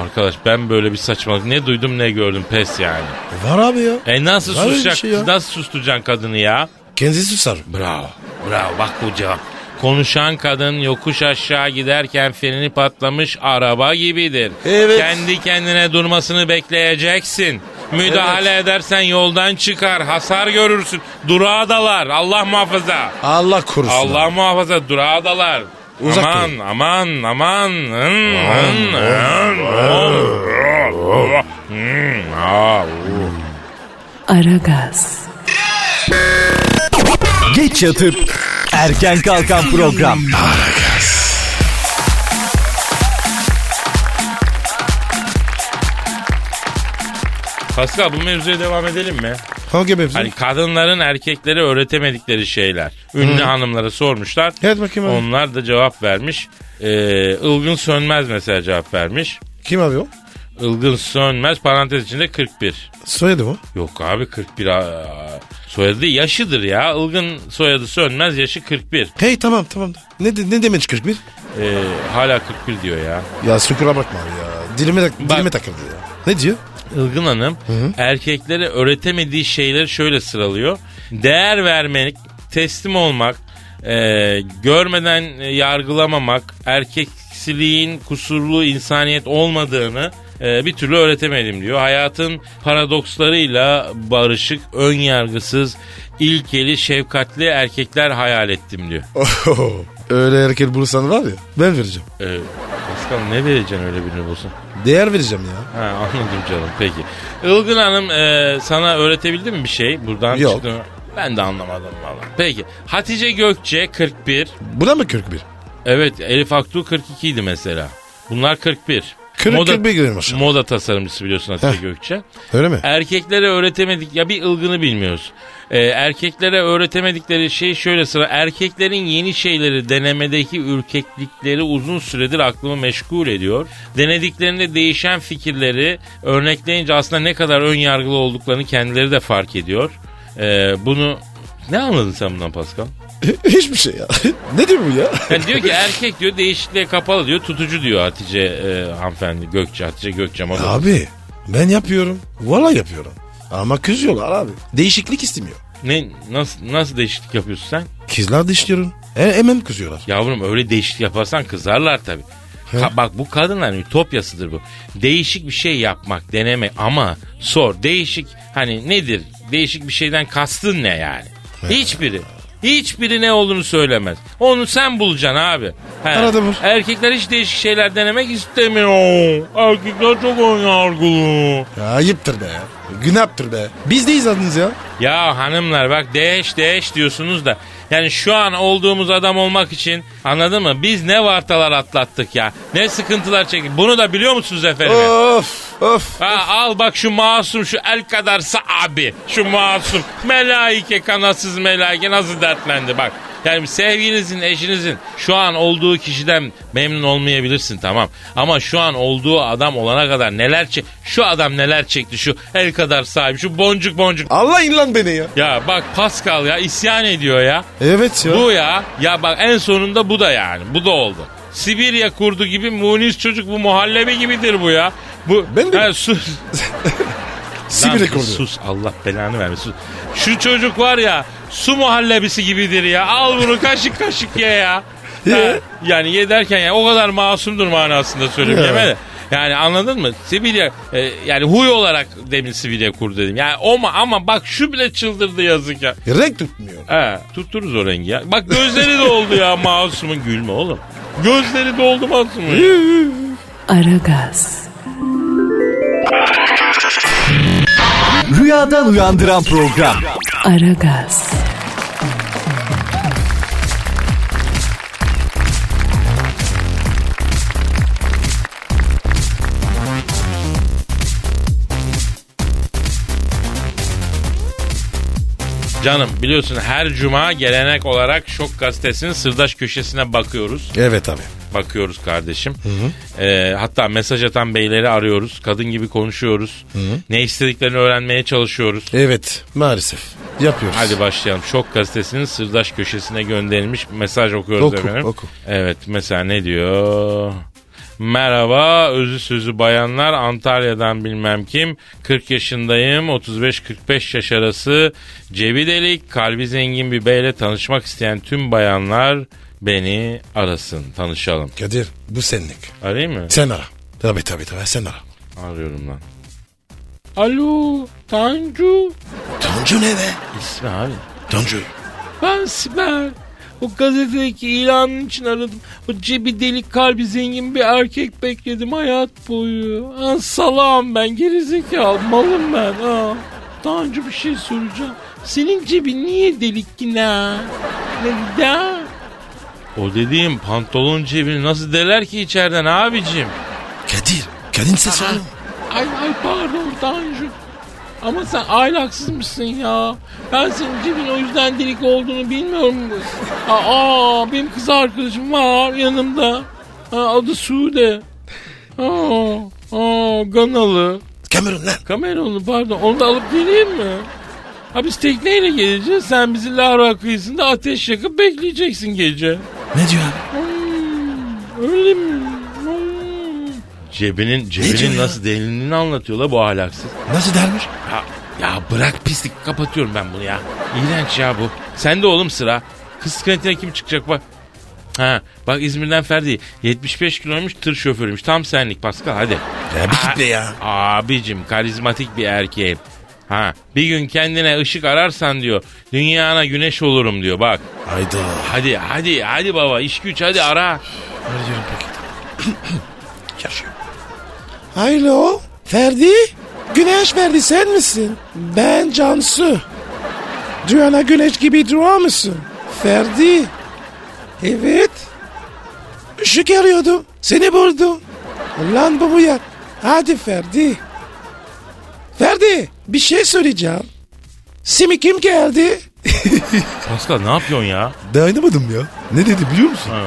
Speaker 3: Arkadaş ben böyle bir saçmalık ne duydum ne gördüm pes yani.
Speaker 4: Var abi ya.
Speaker 3: E nasıl
Speaker 4: Var öyle bir
Speaker 3: susacak?
Speaker 4: şey ya.
Speaker 3: Nasıl susturacaksın kadını ya?
Speaker 4: Kendisi susar.
Speaker 3: Bravo. Bravo bak bu cevap. Konuşan kadın yokuş aşağı giderken freni patlamış araba gibidir.
Speaker 4: Evet.
Speaker 3: Kendi kendine durmasını bekleyeceksin. Müdahale edersen yoldan çıkar, hasar görürsün. Durağa dalar. Allah muhafaza.
Speaker 4: Allah korusun.
Speaker 3: Allah muhafaza durağa dalar.
Speaker 4: Uzak
Speaker 3: aman,
Speaker 4: durun.
Speaker 3: aman aman Hın, hın, hın, hın. Hın, ha, u.
Speaker 2: Aragaz,
Speaker 5: Geç yatıp erken kalkan program.
Speaker 3: Pascal bu mevzuya devam edelim mi?
Speaker 4: Hangi mevzu?
Speaker 3: Hani kadınların erkeklere öğretemedikleri şeyler. Ünlü hanımlara sormuşlar.
Speaker 4: Evet bakayım abi.
Speaker 3: Onlar da cevap vermiş. Ee, Ilgın Sönmez mesela cevap vermiş.
Speaker 4: Kim abi o?
Speaker 3: Ilgın Sönmez parantez içinde 41.
Speaker 4: Soyadı mı?
Speaker 3: Yok abi 41 aa, soyadı yaşıdır ya. Ilgın soyadı Sönmez yaşı 41.
Speaker 4: Hey tamam tamam. Ne, de- ne demek 41?
Speaker 3: Ee, hala 41 diyor ya.
Speaker 4: Ya sukura bakma abi ya. Dilime, tak- dilime takıldı ya. Ne diyor? [laughs]
Speaker 3: Ilgın Hanım erkeklere öğretemediği şeyleri şöyle sıralıyor. Değer vermek, teslim olmak, e, görmeden e, yargılamamak, erkeksiliğin kusurlu insaniyet olmadığını e, bir türlü öğretemedim diyor. Hayatın paradokslarıyla barışık, ön yargısız, ilkeli, şefkatli erkekler hayal ettim diyor.
Speaker 4: Oho. Öyle erkek bulursan var ya ben vereceğim.
Speaker 3: E, Pascal ne vereceksin öyle birini bulsun?
Speaker 4: Değer vereceğim ya.
Speaker 3: Ha, anladım canım peki. Ilgın Hanım e, sana öğretebildi mi bir şey buradan?
Speaker 4: Yok.
Speaker 3: çıktığını? Ben de anlamadım valla. Peki Hatice Gökçe 41.
Speaker 4: Buna mı 41?
Speaker 3: Evet Elif Aktu 42 idi mesela. Bunlar 41.
Speaker 4: 40 41 girmiş.
Speaker 3: Moda tasarımcısı biliyorsun Hatice
Speaker 4: Heh.
Speaker 3: Gökçe.
Speaker 4: Öyle mi?
Speaker 3: Erkeklere öğretemedik ya bir ılgını bilmiyoruz. E, erkeklere öğretemedikleri şey şöyle sıra. Erkeklerin yeni şeyleri denemedeki ürkeklikleri uzun süredir aklımı meşgul ediyor. Denediklerinde değişen fikirleri örnekleyince aslında ne kadar ön yargılı olduklarını kendileri de fark ediyor. E, bunu ne anladın sen bundan Pascal?
Speaker 4: [laughs] Hiçbir şey ya. [laughs] ne diyor bu ya? [laughs]
Speaker 3: Yani Hani diyor ki erkek diyor değişikliğe kapalı diyor tutucu diyor Hatice e, hanımefendi Gökçe Hatice Gökçe. moda
Speaker 4: Abi ben yapıyorum. Valla yapıyorum. Ama kızıyorlar abi. Değişiklik istemiyor.
Speaker 3: Ne, nasıl, nasıl değişiklik yapıyorsun sen?
Speaker 4: Kızlar dişliyorum. E, hemen kızıyorlar.
Speaker 3: Yavrum öyle değişiklik yaparsan kızarlar tabii. Ka- bak bu kadınların ütopyasıdır bu. Değişik bir şey yapmak, deneme ama sor. Değişik hani nedir? Değişik bir şeyden kastın ne yani? Hiçbiri. Hiçbiri ne olduğunu söylemez. Onu sen bulacaksın abi. He.
Speaker 4: Arada bul.
Speaker 3: Erkekler hiç değişik şeyler denemek istemiyor. Erkekler çok ön yargılı.
Speaker 4: Ya ayıptır be. Günahtır be. Biz de izlediniz ya.
Speaker 3: Ya hanımlar bak değiş değiş diyorsunuz da yani şu an olduğumuz adam olmak için anladın mı? Biz ne vartalar atlattık ya. Ne sıkıntılar çektik. Bunu da biliyor musunuz efendim?
Speaker 4: Of of.
Speaker 3: Ha, al bak şu masum şu el kadarsa abi. Şu masum melaike kanatsız melaike nasıl dertlendi bak. Yani sevginizin, eşinizin şu an olduğu kişiden memnun olmayabilirsin tamam. Ama şu an olduğu adam olana kadar neler çek... Şu adam neler çekti şu el kadar sahibi şu boncuk boncuk
Speaker 4: Allah in lan beni ya.
Speaker 3: ya bak Pascal ya isyan ediyor ya.
Speaker 4: Evet ya.
Speaker 3: Bu ya. Ya bak en sonunda bu da yani. Bu da oldu. Sibirya kurdu gibi munis çocuk bu muhallebi gibidir bu ya. Bu
Speaker 4: Ben de-
Speaker 3: Ha, sus.
Speaker 4: Sibir
Speaker 3: Lan
Speaker 4: rekoru.
Speaker 3: Sus Allah belanı vermesin. Sus. Şu çocuk var ya su muhallebisi gibidir ya. Al bunu kaşık kaşık ye ya.
Speaker 4: [laughs] Ye.
Speaker 3: Ha, yani ye derken yani o kadar masumdur manasında söylüyorum
Speaker 4: Ya.
Speaker 3: yeme de. Yani anladın mı? Sibirya e, yani huy olarak demin Sibirya kurdu dedim. Yani o ma- ama bak şu bile çıldırdı yazık ya.
Speaker 4: Renk tutmuyor.
Speaker 3: He, tuttururuz o rengi ya. Bak gözleri doldu ya masumun gülme oğlum. Gözleri doldu masumun. ya.
Speaker 2: Aragaz,
Speaker 5: Rüyadan uyandıran program.
Speaker 2: Aragaz,
Speaker 3: Canım biliyorsun her cuma gelenek olarak Şok Gazetesi'nin sırdaş köşesine bakıyoruz.
Speaker 4: Evet abi.
Speaker 3: Bakıyoruz kardeşim. Ee, hatta mesaj atan beyleri arıyoruz. Kadın gibi konuşuyoruz. Ne istediklerini öğrenmeye çalışıyoruz.
Speaker 4: Evet maalesef. Yapıyoruz.
Speaker 3: Hadi başlayalım. Şok gazetesinin sırdaş köşesine gönderilmiş mesaj okuyoruz
Speaker 4: Oku,
Speaker 3: efendim.
Speaker 4: oku.
Speaker 3: Evet mesela ne diyor? Merhaba özü sözü bayanlar Antalya'dan bilmem kim 40 yaşındayım 35-45 yaş arası cebi delik kalbi zengin bir beyle tanışmak isteyen tüm bayanlar beni arasın tanışalım.
Speaker 4: Kadir bu senlik.
Speaker 3: Arayayım mı?
Speaker 4: Sen ara. Tabii tabii tabii sen ara.
Speaker 3: Arıyorum lan. Alo Tanju
Speaker 4: Tanju ne be?
Speaker 3: İsmi abi.
Speaker 4: Tanju.
Speaker 3: Ben Sibel. O gazetedeki ilanın için aradım. O cebi delik kalbi zengin bir erkek bekledim hayat boyu. Ha, salağım ben gerizekalı malım ben. Ha. Daha önce bir şey soracağım. Senin cebin niye delik ki ne? Neden? O dediğim pantolon cebini nasıl deler ki içeriden abicim?
Speaker 4: Kadir. Kadın sesi var.
Speaker 3: Ay ay pardon Tanju. Ama sen ahlaksız mısın ya? Ben senin cebin o yüzden delik olduğunu bilmiyorum. Aa benim kız arkadaşım var yanımda. Ha, adı Sude. Aa, aa Ganalı.
Speaker 4: Kamerun lan.
Speaker 3: Kamerunlu pardon onu da alıp geleyim mi? Ha biz tekneyle geleceğiz. Sen bizi Lahra kıyısında ateş yakıp bekleyeceksin gece.
Speaker 4: Ne diyor abi?
Speaker 3: Öyle mi? Hmm. Cebinin,
Speaker 4: diyor
Speaker 3: cebinin
Speaker 4: ya?
Speaker 3: nasıl delindiğini anlatıyor la bu ahlaksız.
Speaker 4: Nasıl dermiş?
Speaker 3: Ya, ya bırak pislik kapatıyorum ben bunu ya. İğrenç ya bu. Sen de oğlum sıra. Kız kentine kim çıkacak bak. Ha, bak İzmir'den Ferdi 75 kiloymuş tır şoförüymüş. Tam senlik Pascal hadi.
Speaker 4: Ya bir git be ya.
Speaker 3: Abicim karizmatik bir erkeğim. Ha, bir gün kendine ışık ararsan diyor. Dünyana güneş olurum diyor bak.
Speaker 4: Hayda.
Speaker 3: Hadi hadi hadi baba iş güç hadi ara.
Speaker 4: Arıyorum paketi. [coughs] Yaşıyor. Alo. Ferdi. Güneş Ferdi sen misin? Ben Cansu. Dünyana güneş gibi duruyor musun? Ferdi. Evet. Işık arıyordum. Seni buldum. Lan bu bu ya. Hadi Ferdi. Ferdi bir şey söyleyeceğim. Simi kim geldi?
Speaker 3: Pascal ne yapıyorsun ya?
Speaker 4: [laughs] Dayanamadım ya. Ne dedi biliyor musun?
Speaker 3: Ha,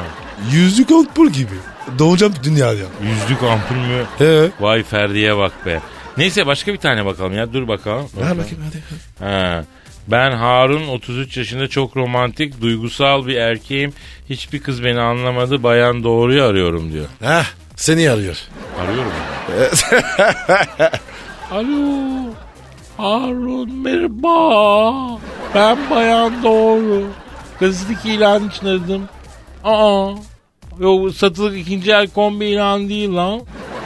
Speaker 4: Yüzlük outpour gibi. Doğacağım dünyaya.
Speaker 3: yüzlük ampul mü?
Speaker 4: He.
Speaker 3: Vay Ferdi'ye bak be. Neyse başka bir tane bakalım ya. Dur bakalım.
Speaker 4: Ver bakayım hadi.
Speaker 3: Ha. Ben Harun 33 yaşında çok romantik, duygusal bir erkeğim. Hiçbir kız beni anlamadı. Bayan doğruyu arıyorum diyor.
Speaker 4: Heh seni arıyor.
Speaker 3: Arıyorum. [laughs] Alo. Harun merhaba. Ben bayan doğru. Gazetedeki ilan için aradım. Aa. Yo satılık ikinci el kombi ilan değil lan.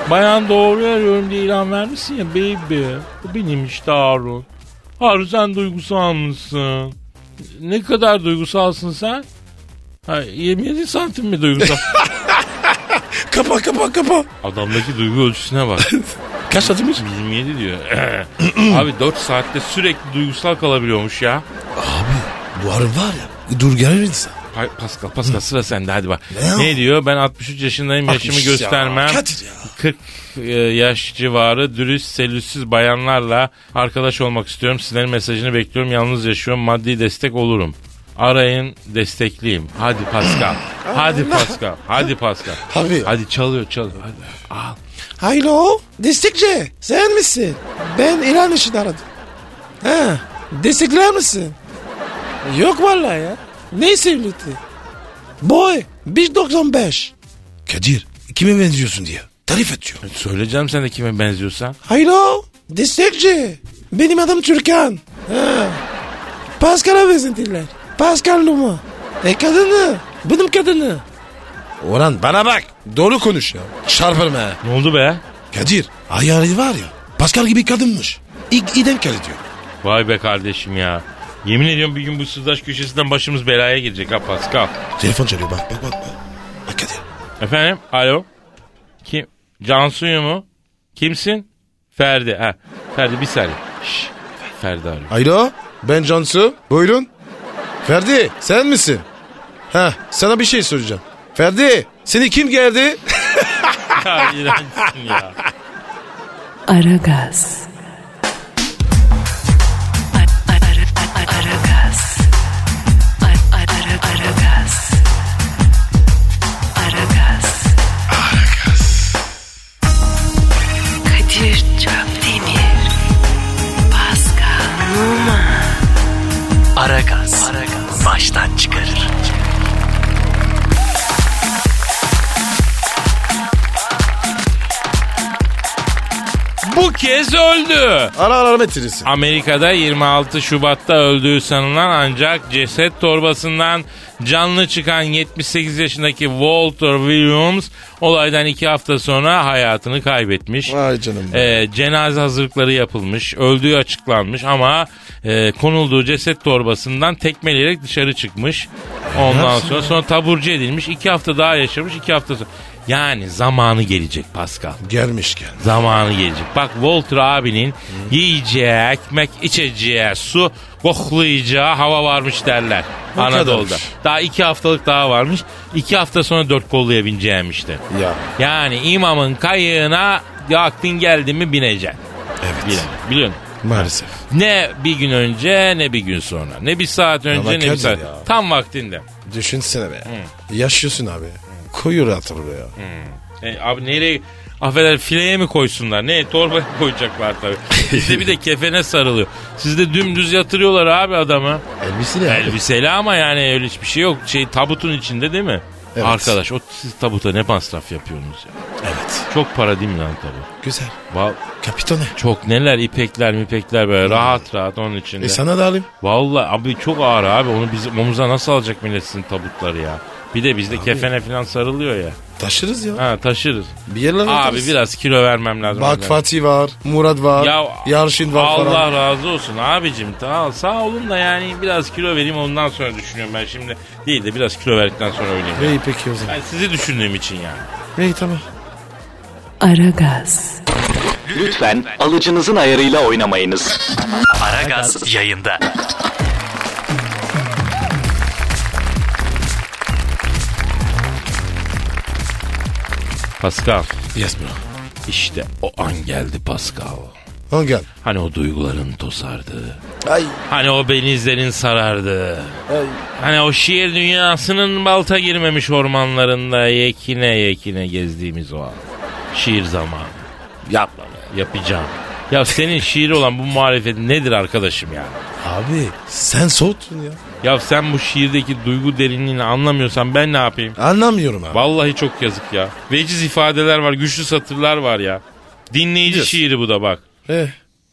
Speaker 3: Bayan doğru arıyorum diye ilan vermişsin ya baby. Bu benim işte Harun. Harun sen duygusal mısın? Ne kadar duygusalsın sen? Ha, 27 santim mi duygusal?
Speaker 4: Kapa kapa kapa.
Speaker 3: [laughs] Adamdaki duygu ölçüsüne bak.
Speaker 4: Kaç atmış?
Speaker 3: 27 diyor. [clears throat] Abi 4 saatte sürekli duygusal kalabiliyormuş ya.
Speaker 4: Bu arı var ya. Dur gelir insan.
Speaker 3: Pa- Pascal, Pascal sıra sende hadi bak.
Speaker 4: Ne o?
Speaker 3: Ne, diyor? Ben 63 yaşındayım yaşımı
Speaker 4: 60 ya,
Speaker 3: göstermem.
Speaker 4: Kadir ya.
Speaker 3: 40 e, yaş civarı dürüst, selüsüz bayanlarla arkadaş olmak istiyorum. Sizlerin mesajını bekliyorum. Yalnız yaşıyorum. Maddi destek olurum. Arayın, destekleyeyim. Hadi
Speaker 4: [clears throat]
Speaker 3: Pascal. hadi Pascal. Hadi Pascal.
Speaker 4: Abi ya.
Speaker 3: Hadi çalıyor, çalıyor. Hadi.
Speaker 4: Alo destekçi sen misin? Ben ilan için aradım. Ha, destekler misin? Yok vallahi ya. Ne sevliti? Boy 1.95. Kadir kime benziyorsun diye tarif ediyor.
Speaker 3: Söyleyeceğim sen de kime benziyorsan.
Speaker 4: Alo destekçi benim adım Türkan. Ha. Pascal'a benzetirler. Pascal Numa. E kadını benim kadını. Ulan bana bak. Doğru konuş ya. Çarpırma ya.
Speaker 3: Ne oldu be?
Speaker 4: Kadir ayarı var ya Pascal gibi kadınmış. İlk idem kere diyor.
Speaker 3: Vay be kardeşim ya. Yemin ediyorum bir gün bu sırdaş köşesinden başımız belaya girecek ha Pascal.
Speaker 4: Telefon çalıyor bak bak bak. Bak, bak Kadir.
Speaker 3: Efendim? Alo? Kim? Cansu'yu mu? Kimsin? Ferdi. Ha. Ferdi bir saniye. Şşş. Ferdi
Speaker 4: [laughs]
Speaker 3: arıyor.
Speaker 4: Alo ben Cansu buyurun. Ferdi sen misin? Ha sana bir şey soracağım. Ferdi seni kim geldi?
Speaker 3: Ya iğrençsin ya.
Speaker 2: Aragaz. Aragaz. Aragaz. Aragaz. Kadir Çöptemir. Pascal Numa.
Speaker 6: Aragaz. Baştan çıkarır.
Speaker 3: Bu kez öldü.
Speaker 4: Ara ara metresi.
Speaker 3: Amerika'da 26 Şubat'ta öldüğü sanılan ancak ceset torbasından canlı çıkan 78 yaşındaki Walter Williams olaydan 2 hafta sonra hayatını kaybetmiş.
Speaker 4: Vay canım.
Speaker 3: Ee, cenaze hazırlıkları yapılmış, öldüğü açıklanmış ama e, konulduğu ceset torbasından tekmeleyerek dışarı çıkmış. Ondan sonra sonra taburcu edilmiş. iki hafta daha yaşamış, iki hafta sonra. Yani zamanı gelecek Pascal.
Speaker 4: Gelmiş gel.
Speaker 3: Zamanı gelecek. Bak Walter abinin yiyeceği, ekmek, içeceği, su, koklayacağı hava varmış derler.
Speaker 4: Bu
Speaker 3: Anadolu'da.
Speaker 4: kadarmış.
Speaker 3: Daha iki haftalık daha varmış. İki hafta sonra dört kolluya bineceğim işte.
Speaker 4: Ya.
Speaker 3: Yani imamın kayığına vaktin geldi mi bineceksin.
Speaker 4: Evet.
Speaker 3: Bilen, biliyorsun.
Speaker 4: Maalesef.
Speaker 3: Ne bir gün önce ne bir gün sonra. Ne bir saat önce ne bir
Speaker 4: Kadir
Speaker 3: saat.
Speaker 4: ya.
Speaker 3: Tam vaktinde.
Speaker 4: Düşünsene be. Yaşıyorsun abi. Koyur atır ya.
Speaker 3: E, abi nereye affeder fileye mi koysunlar? Ne torba [laughs] koyacaklar tabii. Bizde bir de kefene sarılıyor. Sizde dümdüz yatırıyorlar abi adamı.
Speaker 4: Elbisi ne?
Speaker 3: Elbiseli ama yani öyle hiçbir şey yok. Şey tabutun içinde değil mi?
Speaker 4: Evet.
Speaker 3: Arkadaş o siz tabuta ne masraf yapıyorsunuz ya?
Speaker 4: Evet.
Speaker 3: Çok para değil mi lan tabut?
Speaker 4: Güzel.
Speaker 3: Va-
Speaker 4: Kapitone. E,
Speaker 3: çok neler ipekler mipekler böyle rahat rahat onun içinde.
Speaker 4: Hmm. E sana da alayım.
Speaker 3: Vallahi abi çok ağır abi onu bizim omuza nasıl alacak millet sizin tabutları ya? Bir de bizde kefene falan sarılıyor ya.
Speaker 4: Taşırız ya.
Speaker 3: Ha taşırız.
Speaker 4: Bir yerlere
Speaker 3: Abi
Speaker 4: atarız.
Speaker 3: biraz kilo vermem lazım.
Speaker 4: Bak
Speaker 3: Öyle.
Speaker 4: Fatih var, Murat var, Yarşin var
Speaker 3: Allah
Speaker 4: falan.
Speaker 3: razı olsun abicim. Sağ, sağ olun da yani biraz kilo vereyim ondan sonra düşünüyorum ben şimdi. Değil de biraz kilo verdikten sonra öyleyim.
Speaker 4: İyi peki o zaman.
Speaker 3: Yani sizi düşündüğüm için yani.
Speaker 4: İyi tamam.
Speaker 2: Aragaz.
Speaker 6: Lütfen alıcınızın ayarıyla oynamayınız. Aragaz yayında.
Speaker 3: Pascal
Speaker 4: Yes bro.
Speaker 3: işte o an geldi Pascal.
Speaker 4: Al gel.
Speaker 3: Hani o duyguların tosardı.
Speaker 4: Ay.
Speaker 3: Hani o benizlerin sarardı.
Speaker 4: Ay.
Speaker 3: Hani o şiir dünyasının balta girmemiş ormanlarında yekine yekine gezdiğimiz o an. Şiir zamanı.
Speaker 4: Yapma
Speaker 3: Yapacağım. Ya senin şiir olan bu muhalefetin nedir arkadaşım ya?
Speaker 4: Abi sen soğuttun ya.
Speaker 3: Ya sen bu şiirdeki duygu derinliğini anlamıyorsan ben ne yapayım?
Speaker 4: Anlamıyorum abi.
Speaker 3: Vallahi çok yazık ya. Veciz ifadeler var, güçlü satırlar var ya. Dinleyici
Speaker 4: Biliyorsun.
Speaker 3: şiiri bu da bak.
Speaker 4: Eh,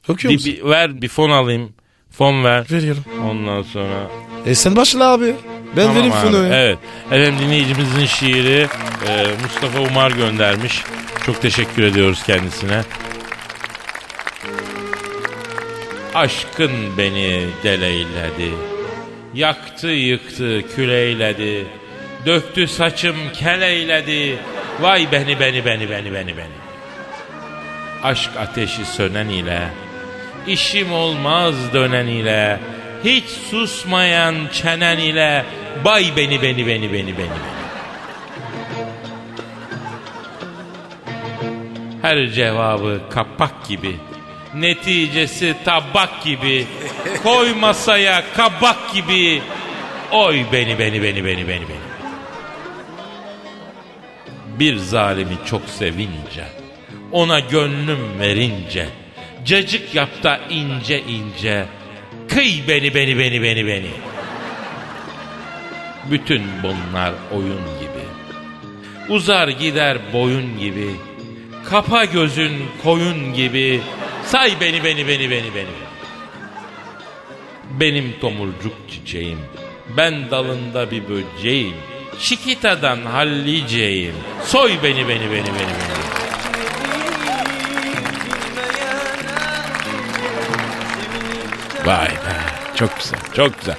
Speaker 4: okuyor
Speaker 3: Di-
Speaker 4: musun?
Speaker 3: bir- ver bir fon alayım. Fon ver.
Speaker 4: Veriyorum.
Speaker 3: Ondan sonra
Speaker 4: E sen başla abi. Ben
Speaker 3: Tamam
Speaker 4: vereyim
Speaker 3: abi, Eh.
Speaker 4: fonu. ya.
Speaker 3: Evet. Efendim dinleyicimizin şiiri e, Mustafa Umar göndermiş. Çok teşekkür ediyoruz kendisine. Aşkın beni deleyledi. Yaktı yıktı küleyledi. Döktü saçım keleyledi. Vay beni beni beni beni beni beni. Aşk ateşi sönen ile İşim olmaz dönen ile Hiç susmayan çenen ile Bay beni beni beni beni beni beni Her cevabı kapak gibi Neticesi tabak gibi Koy masaya kabak gibi Oy beni beni beni beni beni beni Bir zalimi çok sevince Ona gönlüm verince Cacık yap da ince ince Kıy beni beni beni beni beni Bütün bunlar oyun gibi Uzar gider boyun gibi Kapa gözün koyun gibi Say beni beni beni beni beni Benim tomurcuk çiçeğim Ben dalında bir böceğim Şikita'dan halliceyim Soy beni beni beni beni beni Vay be. Çok güzel, çok güzel.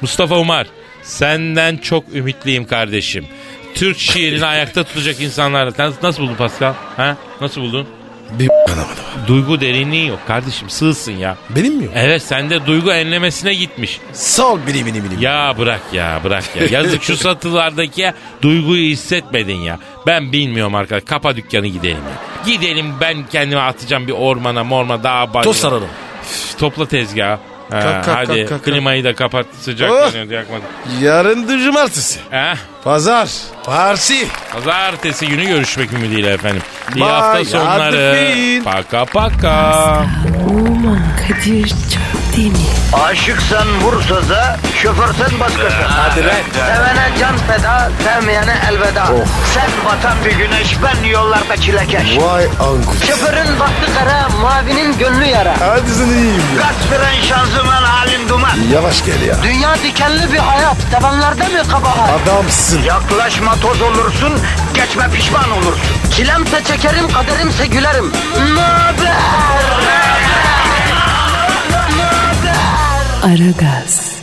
Speaker 3: Mustafa Umar, senden çok ümitliyim kardeşim. Türk şiirini ayakta tutacak insanlarla. Sen Nasıl buldun Pascal? Ha? Nasıl buldun?
Speaker 4: Bir anlamadım.
Speaker 3: Duygu derinliği yok kardeşim. Sığsın ya.
Speaker 4: Benim mi yok?
Speaker 3: Evet sende duygu enlemesine gitmiş.
Speaker 4: Sağ ol benim benim benim.
Speaker 3: Ya bırak ya bırak ya. Yazık şu satılardaki duyguyu hissetmedin ya. Ben bilmiyorum arkadaş. Kapa dükkanı gidelim ya. Gidelim ben kendimi atacağım bir ormana morma dağa bayıla.
Speaker 4: Toz saralım.
Speaker 3: Üf, Topla tezgahı. Ha,
Speaker 4: Kalk, kalk,
Speaker 3: hadi
Speaker 4: kalk, kalk, kalk.
Speaker 3: klimayı da kapat sıcak
Speaker 4: Oh!
Speaker 3: yanıyor yakmadı.
Speaker 4: Yarın da cumartesi.
Speaker 3: Eh,
Speaker 4: Pazar. Parsi.
Speaker 3: pazartesi günü görüşmek ümidiyle efendim. İyi
Speaker 4: Bye,
Speaker 3: hafta sonları.
Speaker 4: Arifin.
Speaker 3: Paka paka.
Speaker 2: Oman Kadir çok değil mi?
Speaker 1: Aşıksan vursa da, şoförsen başkasın. Hadi
Speaker 4: lan.
Speaker 1: Sevene can feda, sevmeyene elveda. Sen batan bir güneş, ben yollarda çilekeş.
Speaker 4: Vay anku.
Speaker 1: Şoförün baktı kara, mavinin gönlü yara.
Speaker 4: Hadi sen iyiyim ya.
Speaker 1: Kasperen şanzıman halin duman.
Speaker 4: Yavaş gel ya.
Speaker 1: Dünya dikenli bir hayat, sevenlerde mi kabahar?
Speaker 4: Adamsın.
Speaker 1: Yaklaşma toz olursun, geçme pişman olursun. Çilemse çekerim, kaderimse gülerim. Möber!
Speaker 2: Aragaz.